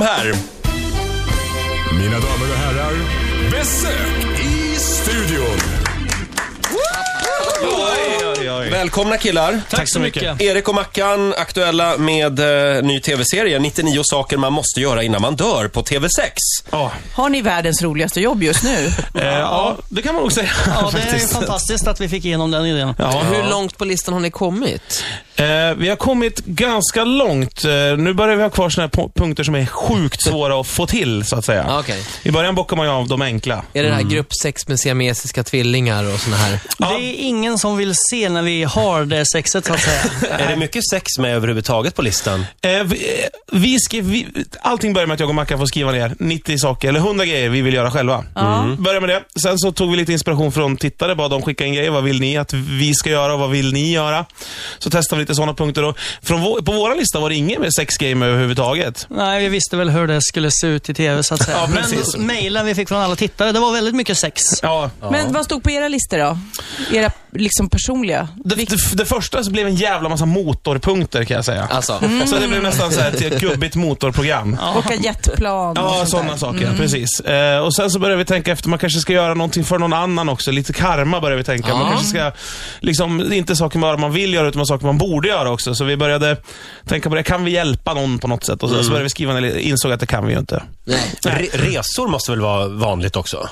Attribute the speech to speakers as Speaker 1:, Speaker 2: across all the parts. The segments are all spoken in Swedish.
Speaker 1: här. Mina damer och herrar, besök i studion.
Speaker 2: Välkomna killar.
Speaker 3: Tack så mycket.
Speaker 2: Erik och Mackan, aktuella med eh, ny tv-serie 99 saker man måste göra innan man dör på TV6.
Speaker 3: Ja,
Speaker 4: Har ni världens roligaste jobb just nu?
Speaker 3: eh, ja det kan man nog säga.
Speaker 5: Ja, det är ju
Speaker 3: faktiskt.
Speaker 5: fantastiskt att vi fick igenom den idén.
Speaker 3: Ja.
Speaker 6: Hur långt på listan har ni kommit?
Speaker 3: Eh, vi har kommit ganska långt. Eh, nu börjar vi ha kvar såna här po- punkter som är sjukt svåra att få till, så att säga.
Speaker 6: Ja, okej. Mm.
Speaker 3: I början bockar man ju av de enkla.
Speaker 6: Är det det här grupp sex med siamesiska tvillingar och såna här?
Speaker 3: Ja.
Speaker 5: Det är ingen som vill se när vi har det sexet, så att säga.
Speaker 2: Är det mycket sex med överhuvudtaget på listan?
Speaker 3: Eh, vi, eh, vi skrev, vi, allting börjar med att jag och Mackan får skriva ner 90 saker, eller 100 grejer vi vill göra själva. Mm. Börjar med det. Sen så tog vi lite inspiration från tittare, bad dem skicka in grejer. Vad vill ni att vi ska göra och vad vill ni göra? Så testade vi lite sådana punkter. Och från vå- på våra lista var det ingen med sex game överhuvudtaget.
Speaker 5: Nej, vi visste väl hur det skulle se ut i tv, så att säga.
Speaker 3: Ja, precis.
Speaker 5: Men mejlen vi fick från alla tittare, det var väldigt mycket sex.
Speaker 3: Ja.
Speaker 4: Men vad stod på era listor då? Era liksom personliga?
Speaker 3: Det, det, det första så blev en jävla massa motorpunkter kan jag säga.
Speaker 6: Alltså,
Speaker 3: Så det blev nästan så här ett gubbigt motorprogram.
Speaker 4: Åka jetplan? och
Speaker 3: Ja,
Speaker 4: sånt
Speaker 3: sådana
Speaker 4: där.
Speaker 3: saker. Precis. Eh, och sen så börjar vi tänka efter, man kanske ska göra någonting för någon annan också. Lite karma börjar vi tänka. Man kanske ska, liksom, det är inte saker bara man vill göra, utan saker man borde göra också. Så vi började tänka på det, kan vi hjälpa någon på något sätt? Och så, så började vi skriva ner, insåg att det kan vi ju inte.
Speaker 6: nej.
Speaker 2: Re- resor måste väl vara vanligt också?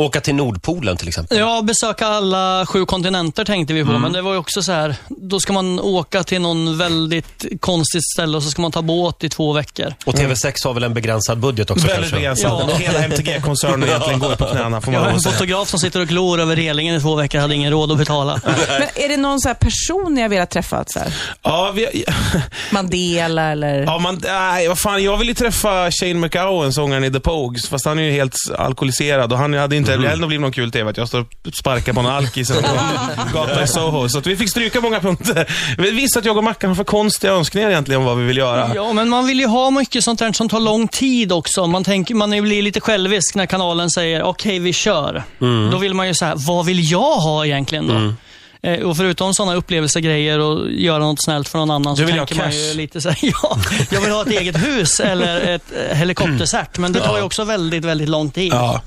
Speaker 2: Åka till Nordpolen till exempel.
Speaker 5: Ja, besöka alla sju kontinenter tänkte vi på,
Speaker 3: Mm.
Speaker 5: men det var ju också så här, då ska man åka till någon väldigt konstigt ställe och så ska man ta båt i två veckor.
Speaker 2: Och TV6 har väl en begränsad budget också
Speaker 3: Mm. Väldigt
Speaker 2: kanske?
Speaker 3: begränsat.
Speaker 5: Ja.
Speaker 3: Hela MTG-koncernen egentligen går på knäna, får
Speaker 5: Jag har
Speaker 3: man lov
Speaker 5: en
Speaker 3: att säga.
Speaker 5: fotograf som sitter och glor över relingen i två veckor, hade ingen råd att betala.
Speaker 4: Men är det någon så här person ni har velat träffa? Så här?
Speaker 3: Ja, vi,
Speaker 4: Mandela eller?
Speaker 3: Ja, man, nej, vad fan, jag ville ju träffa Shane McGowan, sångaren i The Pogues, fast han är ju helt alkoholiserad och han hade inte heller blivit någon kul TV att jag står och sparkar på någon alkis eller någon gata i Soho. Så att vi fick stryka många punkter. Vi visste att jag och Mackan har för konstiga önskningar egentligen om vad vi vill göra.
Speaker 5: Ja, men man vill ju ha mycket sånt där som tar lång tid också. Man, tänker, man blir lite självisk när kanalen säger okej, vi kör.
Speaker 3: Mm.
Speaker 5: Då vill man ju så här, vad vill jag ha egentligen då? Eh, Och förutom sådana upplevelsegrejer och göra något snällt för någon annan
Speaker 3: Du
Speaker 5: så
Speaker 3: vill ha
Speaker 5: tänker man
Speaker 3: cash.
Speaker 5: ju lite så här, ja, jag vill ha ett eget hus eller ett eh, helikoptercert. Men det tar ju också väldigt, väldigt lång tid.
Speaker 3: Ja.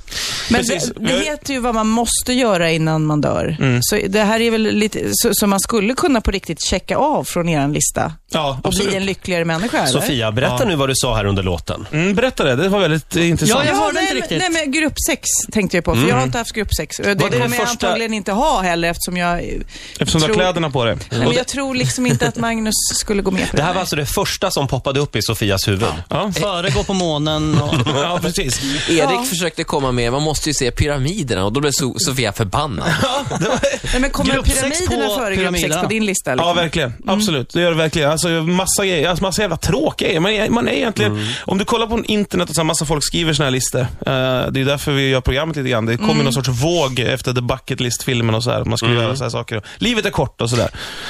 Speaker 4: Men
Speaker 3: precis.
Speaker 4: det, det
Speaker 3: Jag- Mm.
Speaker 4: heter ju vad man måste göra innan man dör. Så det här är väl lite, så, så man skulle kunna på riktigt checka av från er lista
Speaker 3: Ja,
Speaker 4: och bli
Speaker 3: absolut.
Speaker 4: en lyckligare människa eller?
Speaker 2: Sofia, berätta
Speaker 3: Ja.
Speaker 2: nu vad du sa här under låten.
Speaker 3: Mm, berätta det, det var väldigt eh, intressant.
Speaker 5: Ja, jag hörde
Speaker 4: nej,
Speaker 5: inte
Speaker 4: men-
Speaker 5: riktigt.
Speaker 4: Nej, men grupp sex tänkte jag på, för jag har inte haft grupp sex. Det
Speaker 3: Mm. det
Speaker 4: kommer jag
Speaker 3: första-
Speaker 4: antagligen inte ha heller eftersom jag... eh,
Speaker 3: Eftersom du har
Speaker 4: tror-
Speaker 3: kläderna på dig.
Speaker 4: Nej, men jag tror liksom inte att Magnus skulle gå med på det.
Speaker 2: Det här var alltså det första som poppade upp i Sofias huvud.
Speaker 3: Ja.
Speaker 5: Före gå på månen och...
Speaker 3: ja, precis.
Speaker 6: Erik försökte komma med, man måste ju se pyramiderna och då blev so- Sofia förbannad. Alltså,
Speaker 4: Nej, men kommer
Speaker 5: Grupp sex
Speaker 4: pyramiderna
Speaker 5: på
Speaker 4: före grupp sex
Speaker 5: pyramiderna.
Speaker 4: på din lista? Liksom?
Speaker 3: Ja, verkligen. Absolut. Det gör det verkligen. Alltså, massa grejer. Alltså, massa jävla tråkiga grejer. Man är, man är egentligen... Om du kollar på internet och så här, massa folk skriver såna här listor. Eh, det är därför vi gör programmet lite grann. Det kom ju någon sorts våg efter The Bucket List-filmen och så här. Man skulle göra så här saker. Livet är kort och sådär.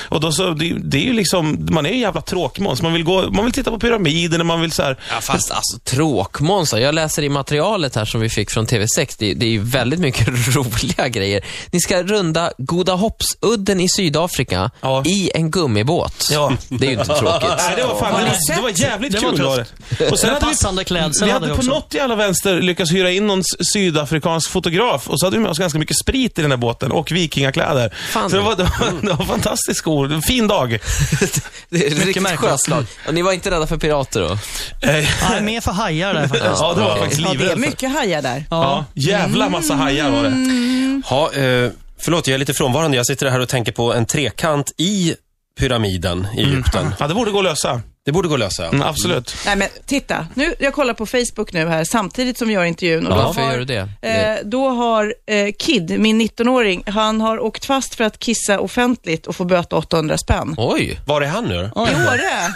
Speaker 3: Och då så, det, det är ju liksom... Man är ju en jävla tråkmåns. Man vill gå... Man vill titta på pyramiderna, man vill så här...
Speaker 6: Ja, fast alltså tråkmånsar. Jag läser i materialet här som vi fick från TV6. Det, det är ju väldigt mycket roliga grejer. Ni ska runda Goda Hoppsudden i Sydafrika
Speaker 3: Ja.
Speaker 6: i en gummibåt.
Speaker 3: Ja.
Speaker 6: Det är ju inte tråkigt.
Speaker 3: Nej, det var fan,
Speaker 4: Har
Speaker 3: det,
Speaker 4: ni
Speaker 3: var,
Speaker 4: sett?
Speaker 3: det var jävligt
Speaker 5: Det var
Speaker 3: kul.
Speaker 5: tufft.
Speaker 3: var det. Och sen
Speaker 5: Med
Speaker 3: hade vi-
Speaker 5: passande klädsel
Speaker 3: Vi
Speaker 5: hade
Speaker 3: hade
Speaker 5: vi
Speaker 3: på
Speaker 5: också.
Speaker 3: något jävla vänster lyckats hyra in någon s- sydafrikansk fotograf och så hade vi med oss ganska mycket sprit i den här båten och vikingakläder.
Speaker 6: Fan.
Speaker 3: Så det var, det var, det var fantastiskt skor. En fin dag.
Speaker 6: det är riktigt
Speaker 5: märkligt.
Speaker 6: sjöslag. Och ni var inte rädda för pirater då?
Speaker 3: Eh,
Speaker 5: Nej, mer för hajar där faktiskt.
Speaker 3: Ja, det var jag faktiskt
Speaker 4: Ja, det är
Speaker 3: livrädd för.
Speaker 4: mycket hajar där.
Speaker 3: Ja, Mm. jävla massa hajar var det.
Speaker 2: Ja, eh, förlåt, jag är lite frånvarande. Jag sitter här och tänker på en trekant i pyramiden i Egypten.
Speaker 3: Mm. Ja, det borde gå att lösa.
Speaker 2: Det borde gå att lösa.
Speaker 3: Mm, absolut.
Speaker 4: Nej men titta, nu, jag kollar på Facebook nu här samtidigt som vi gör intervjun. Och
Speaker 6: Ja.
Speaker 4: då
Speaker 6: Varför
Speaker 4: har,
Speaker 6: gör du det?
Speaker 4: Eh, då har eh, Kid, min 19-åring, han har åkt fast för att kissa offentligt och få böta 800 spänn.
Speaker 6: Oj.
Speaker 2: Var är han nu?
Speaker 4: I Åre,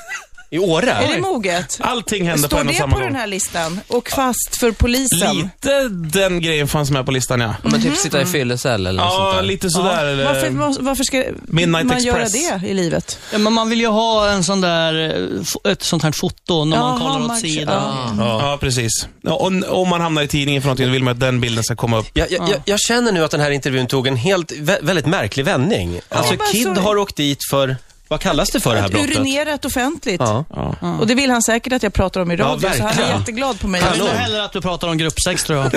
Speaker 2: I Åre?
Speaker 4: är det moget?
Speaker 3: Allting hände på
Speaker 4: Står
Speaker 3: en och
Speaker 4: det
Speaker 3: samma
Speaker 4: på den
Speaker 3: gång.
Speaker 4: här listan? Och fast för polisen?
Speaker 3: Lite den grejen fanns med på listan, ja.
Speaker 6: Men typ sitta i fyllecell eller något sånt
Speaker 3: Ja,
Speaker 6: där.
Speaker 3: lite sådär. eller-
Speaker 4: Varför, måste- varför ska
Speaker 3: Midnight
Speaker 4: man
Speaker 3: Express.
Speaker 4: göra det i livet?
Speaker 5: Ja, men man vill ju ha en sån där, eh, f- ett sånt här foto när
Speaker 4: Jaha,
Speaker 5: man kollar
Speaker 4: man-
Speaker 5: åt sidan.
Speaker 6: Ja.
Speaker 3: Ja, precis. Ja, och n- Om man hamnar i tidningen för någonting, då vill man att den bilden ska komma upp.
Speaker 2: Jag, jag, jag, jag känner nu att den här intervjun tog en helt, vä- väldigt märklig vändning. Alltså,
Speaker 4: Ja, men
Speaker 2: Kid
Speaker 4: sorry.
Speaker 2: har åkt dit för Vad kallas det för det här brottet?
Speaker 4: Urinerat offentligt.
Speaker 2: Ja.
Speaker 3: Ja.
Speaker 4: Och det vill han säkert att jag pratar om i radio, så han är
Speaker 2: verkligen.
Speaker 4: jätteglad på mig.
Speaker 5: Jag vill nog hellre att du pratar om gruppsex tror jag.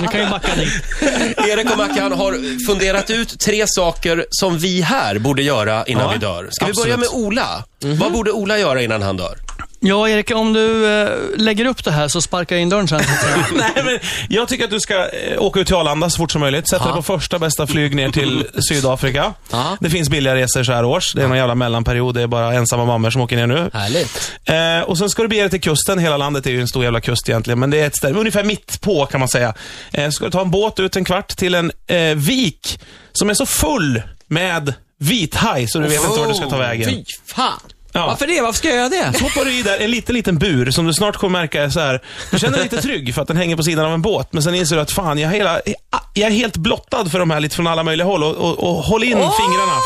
Speaker 5: Du kan ju backa dit.
Speaker 2: Erik och Mackan har funderat ut tre saker som vi här borde göra innan
Speaker 3: Ja,
Speaker 2: vi dör. Ska vi
Speaker 3: absolut. Mhm.
Speaker 2: börja med Ola? Vad borde Ola göra innan han dör?
Speaker 5: Ja, Erik, om du eh, lägger upp det här så sparkar jag in dörren sen.
Speaker 3: Nej, men jag tycker att du ska eh, åka ut till Arlanda så fort som möjligt. Sätta dig på första bästa flyg ner till Sydafrika.
Speaker 6: Ja.
Speaker 3: Det finns billiga resor så här års. Det är någon jävla mellanperiod. Det är bara ensamma mammor som åker ner nu.
Speaker 6: Härligt.
Speaker 3: Eh, och sen ska du bege dig till kusten. Hela landet är ju en stor jävla kust egentligen, men det är ett ställe, ungefär mitt på kan man säga. Eh, ska du ta en båt ut en kvart till en eh, vik som är så full med vithaj så du vet inte vart du ska ta vägen.
Speaker 6: Fy fan.
Speaker 3: Ja.
Speaker 6: Varför det? Varför ska jag göra det?
Speaker 3: Så hoppar du i där en liten, liten bur som du snart kommer märka är så här. Du känner dig lite trygg för att den hänger på sidan av en båt, men sen inser du att fan, jag är, hela, jag är helt blottad för de här lite från alla möjliga håll och, och, och håll in fingrarna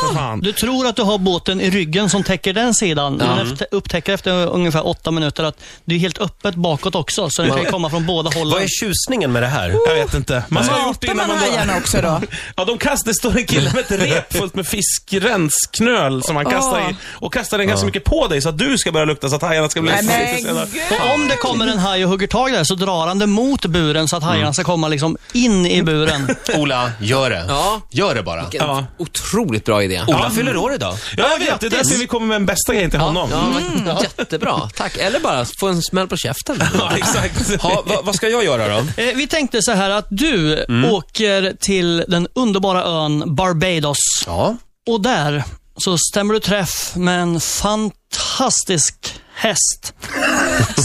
Speaker 3: för fan.
Speaker 5: Du tror att du har båten i ryggen som täcker den sidan, men efter, upptäcker efter ungefär åtta minuter att det är helt öppet bakåt också, så den kan ju komma från båda
Speaker 2: Vad
Speaker 5: hållen.
Speaker 2: är tjusningen med det här?
Speaker 3: Jag vet inte. Man har gjort det
Speaker 4: Matar
Speaker 3: innan
Speaker 4: man
Speaker 3: man dör.
Speaker 4: hajarna också då?
Speaker 3: Ja, de kastar, det står en kille med ett rep fullt med fiskrensknöl som han kastar i. Och kastar den ganska mycket på dig så att du ska börja lukta så att hajarna ska bli
Speaker 4: Nej, men
Speaker 3: intresserade.
Speaker 5: Och om det kommer en haj och hugger tag där så drar han det mot buren så att
Speaker 2: Mm.
Speaker 5: hajarna ska komma liksom in i buren.
Speaker 2: Ola, gör det.
Speaker 6: Ja.
Speaker 2: Gör det bara.
Speaker 6: Vilken
Speaker 3: Ja.
Speaker 6: otroligt bra idé.
Speaker 2: Ola fyller år idag.
Speaker 3: Ja, jag vet. Det är därför vi kommer med den bästa grejen till honom.
Speaker 6: Ja, men Jättebra. Tack. Eller bara få en smäll på käften.
Speaker 3: Ja, exakt.
Speaker 2: Ha, va, vad ska jag göra då?
Speaker 5: Eh, vi tänkte så här att du
Speaker 2: Mm.
Speaker 5: åker till den underbara ön Barbados
Speaker 2: Ja.
Speaker 5: och där så stämmer du träff med en fantastisk häst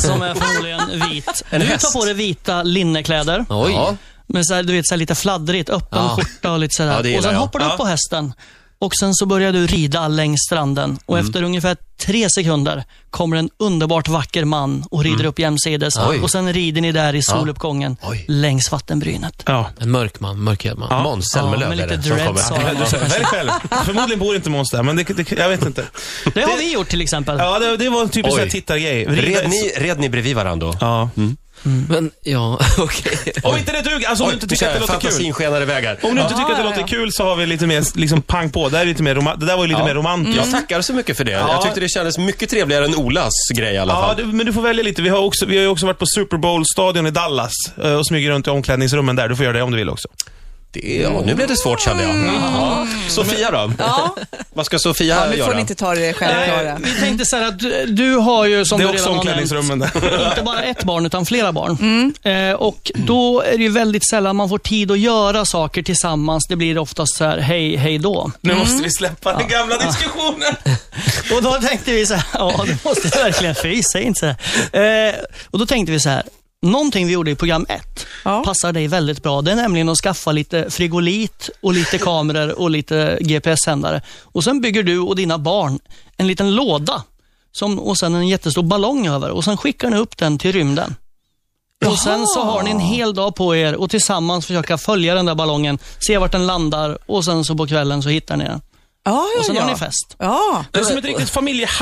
Speaker 5: som är förmodligen vit.
Speaker 2: En
Speaker 5: du
Speaker 2: häst.
Speaker 5: tar på dig vita linnekläder.
Speaker 6: Oj.
Speaker 2: Ja.
Speaker 5: Men så här, du vet, så här lite fladdrigt, öppen
Speaker 6: Ja.
Speaker 5: skjorta och lite sådär.
Speaker 2: Ja, det gillar
Speaker 5: och sen
Speaker 2: jag.
Speaker 5: hoppar du upp på hästen och sen så börjar du rida längs stranden och
Speaker 2: Mm.
Speaker 5: efter ungefär tre sekunder kommer en underbart vacker man och rider upp jämsides.
Speaker 6: Oj.
Speaker 5: Och sen rider ni där i soluppgången
Speaker 2: Mm. Oj.
Speaker 5: längs vattenbrynet.
Speaker 3: Ja.
Speaker 6: En mörk man, mörkhyad man.
Speaker 2: Måns
Speaker 5: Ja,
Speaker 2: Zelmerlöw
Speaker 5: med
Speaker 2: är
Speaker 5: lite
Speaker 2: det som
Speaker 5: dreads
Speaker 2: kommer.
Speaker 5: har han.
Speaker 3: Du säger, välj själv. Förmodligen bor inte Måns där, men det, det, jag vet inte.
Speaker 5: Det har vi gjort till exempel.
Speaker 3: Ja, det, det var en typisk
Speaker 2: Oj.
Speaker 3: sån här tittargrej. Vrida-
Speaker 2: Red ni, red ni bredvid varandra då?
Speaker 3: Ja.
Speaker 6: Men, ja, okej.
Speaker 3: Om inte det duger, alltså om du inte tycker att det låter kul.
Speaker 2: fantasin skenar iväg här.
Speaker 3: Om du inte tycker att det
Speaker 4: ja,
Speaker 3: låter
Speaker 5: Ah.
Speaker 4: ja.
Speaker 3: kul så har vi lite mer liksom, pang på. Det, här är lite mer roma- det där var ju lite mer romantiskt.
Speaker 2: Jag tackar så mycket för det. Jag
Speaker 3: Ja.
Speaker 2: tyckte det kändes mycket trevligare än Olas grej i alla
Speaker 3: Ja,
Speaker 2: fall.
Speaker 3: du, men du får välja lite. Vi har, också, vi har ju också varit på Super Bowl-stadion i Dallas eh, och smyger runt i omklädningsrummen där. Du får göra det om du vill också.
Speaker 2: Det, ja, nu blev det svårt kände jag.
Speaker 3: Mm.
Speaker 2: Ja. Sofia då?
Speaker 4: Ja,
Speaker 2: Vad ska Sofia
Speaker 4: ja nu får
Speaker 2: göra?
Speaker 4: ni inte ta det själv, Klara.
Speaker 5: Vi tänkte så här att du, du har ju, som
Speaker 3: Det
Speaker 5: du
Speaker 3: är också
Speaker 5: redan har nämnt,
Speaker 3: omklädningsrummen där.
Speaker 5: inte bara ett barn utan flera barn. Eh, och Då är det ju väldigt sällan man får tid att göra saker tillsammans. Det blir oftast så här, hej, hej då.
Speaker 3: Nu måste
Speaker 5: Mm.
Speaker 3: vi släppa den gamla diskussionen.
Speaker 5: Och då tänkte vi så här, ja det måste jag verkligen, fy, säg inte så här. Eh, och då tänkte vi så här, någonting vi gjorde i program ett
Speaker 4: Ja.
Speaker 5: passar dig väldigt bra. Det är nämligen att skaffa lite frigolit och lite kameror och lite GPS-sändare. Och sen bygger du och dina barn en liten låda som, och sen en jättestor ballong över och sen skickar ni upp den till rymden. Och Sen så har ni en hel dag på er och tillsammans försöka följa den där ballongen, se vart den landar och sen så på kvällen så hittar ni den.
Speaker 4: Ja, ja,
Speaker 5: Och sen
Speaker 4: ja.
Speaker 5: har ni fest.
Speaker 4: Ja.
Speaker 3: Det är som ett riktigt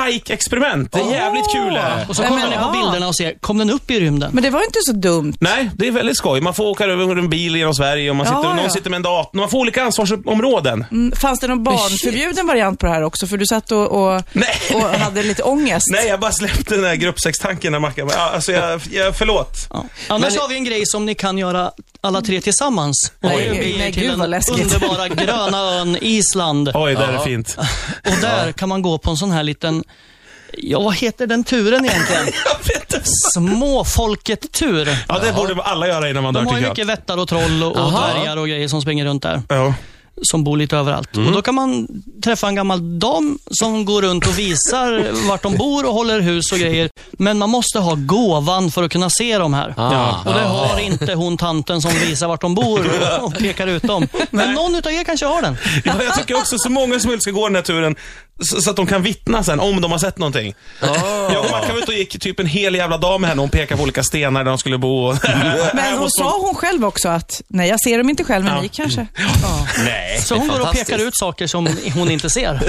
Speaker 3: familjehike-experiment. Det är jävligt kul eh. det här.
Speaker 5: Och så
Speaker 4: Nej,
Speaker 5: kollar
Speaker 4: men
Speaker 5: ni på
Speaker 4: ja.
Speaker 5: bilderna och ser, kom den upp i rymden?
Speaker 4: Men det var inte så dumt.
Speaker 3: Nej, det är väldigt skoj. Man får åka över en bil genom Sverige och man sitter,
Speaker 4: Ja,
Speaker 3: någon
Speaker 4: ja.
Speaker 3: sitter med en dator. Man får olika ansvarsområden.
Speaker 4: Mm, Fanns det någon barnförbjuden variant på det här också? För du satt och, och,
Speaker 3: Nej.
Speaker 4: och hade lite ångest.
Speaker 3: Nej, jag bara släppte den här gruppsextanken när Mackan... Ja, alltså, jag, jag, förlåt.
Speaker 5: Ja. Annars har vi en grej som ni kan göra alla tre tillsammans.
Speaker 4: Oj.
Speaker 5: Det blir
Speaker 4: Nej,
Speaker 5: till
Speaker 4: gud,
Speaker 5: den
Speaker 4: vad läskigt.
Speaker 5: underbara gröna ön Island.
Speaker 3: Oj, där är det fint.
Speaker 5: Och där kan man gå på en sån här liten, ja vad heter den turen egentligen? Småfolket-tur.
Speaker 3: Ja, det borde alla göra innan man dör,
Speaker 5: De har
Speaker 3: tycker
Speaker 5: ju
Speaker 3: jag.
Speaker 5: mycket vättar och troll och, och
Speaker 6: Aha.
Speaker 5: dvärgar och grejer som springer runt där.
Speaker 3: Ja.
Speaker 5: Som bor lite överallt. Och Då kan man träffa en gammal dam som går runt och visar vart de bor och håller hus och grejer. Men man måste ha gåvan för att kunna se de här.
Speaker 6: Ah.
Speaker 5: Och det har inte hon tanten som visar vart de bor och pekar ut dem. Men någon utav er kanske har den.
Speaker 3: Ja, jag tycker också så många som möjligt ska gå den här turen så, så att de kan vittna sen om de har sett någonting. Jag och Mackan var ute och gick typ en hel jävla dag med henne. Hon pekade på olika stenar där de skulle bo. Och
Speaker 4: Men hon sa hon själv också att, nej jag ser dem inte själv, men ni kanske. Ja.
Speaker 2: Nej.
Speaker 5: Så hon går och
Speaker 6: fantastiskt.
Speaker 5: pekar ut saker som hon inte ser.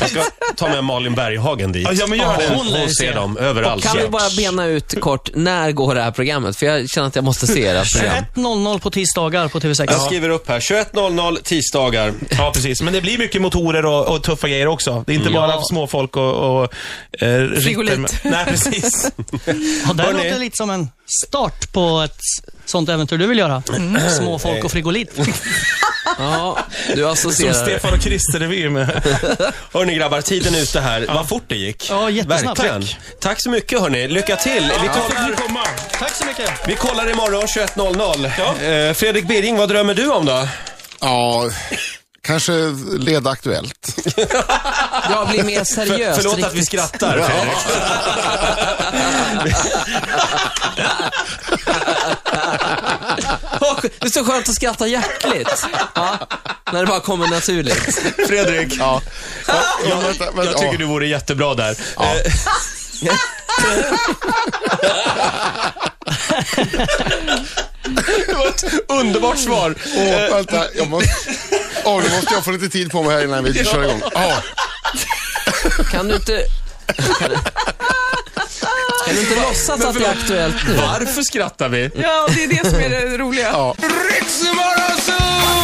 Speaker 2: Jag ska ta med Malin Berghagen dit.
Speaker 3: Ja, ja, men gör det.
Speaker 2: Hon, hon ser dem
Speaker 3: Alltså.
Speaker 2: överallt.
Speaker 6: Kan vi bara bena ut kort, när går det här programmet? För jag känner att jag måste se ert program.
Speaker 5: 21.00 på tisdagar på TV6.
Speaker 2: Jag skriver upp här. 21.00 tisdagar.
Speaker 3: Mm. Ja, precis. Men det blir mycket motorer och, och tuffa grejer också. också. Det är inte bara små folk och... och eh, rytter
Speaker 4: Frigolit.
Speaker 3: med- Nej, precis.
Speaker 5: Ja, det här
Speaker 3: Hörni.
Speaker 5: låter lite som en start på ett sånt äventyr du vill göra. Små folk och frigolit.
Speaker 6: Ja, du
Speaker 3: Som
Speaker 6: associerar.
Speaker 3: Stefan och Christer revy med.
Speaker 2: Hörni grabbar, tiden är ute här. Vad fort det gick.
Speaker 5: Ja, jättesnabbt.
Speaker 2: Verkligen. Tack. så mycket hörni. Lycka till. Vi kollar,
Speaker 5: Tack så mycket.
Speaker 2: vi kollar imorgon 21.00. Eh, Fredrik Birring, vad drömmer du om då?
Speaker 7: Ja, kanske leda Aktuellt.
Speaker 6: Jag blir mer seriös.
Speaker 2: Förlåt att vi
Speaker 6: riktigt.
Speaker 2: skrattar Fredrik.
Speaker 6: Åh, Det är så skönt att skratta hjärtligt. Ja, när det bara kommer naturligt.
Speaker 2: Fredrik,
Speaker 7: Ja. Ja, ja,
Speaker 2: jag,
Speaker 7: vänta, vänta,
Speaker 2: jag tycker
Speaker 7: ja.
Speaker 2: du vore jättebra där. Eh, det var ett underbart svar.
Speaker 7: Åh, vänta, jag måste... Åh, nu måste jag få lite tid på mig här innan vi kör igång. Ja,
Speaker 6: Kan du inte... Kan du inte låtsas att det är aktuellt nu?
Speaker 2: Varför skrattar vi?
Speaker 4: Ja, det är det som är det roliga.
Speaker 7: ja.
Speaker 3: Riksmorgonzoo!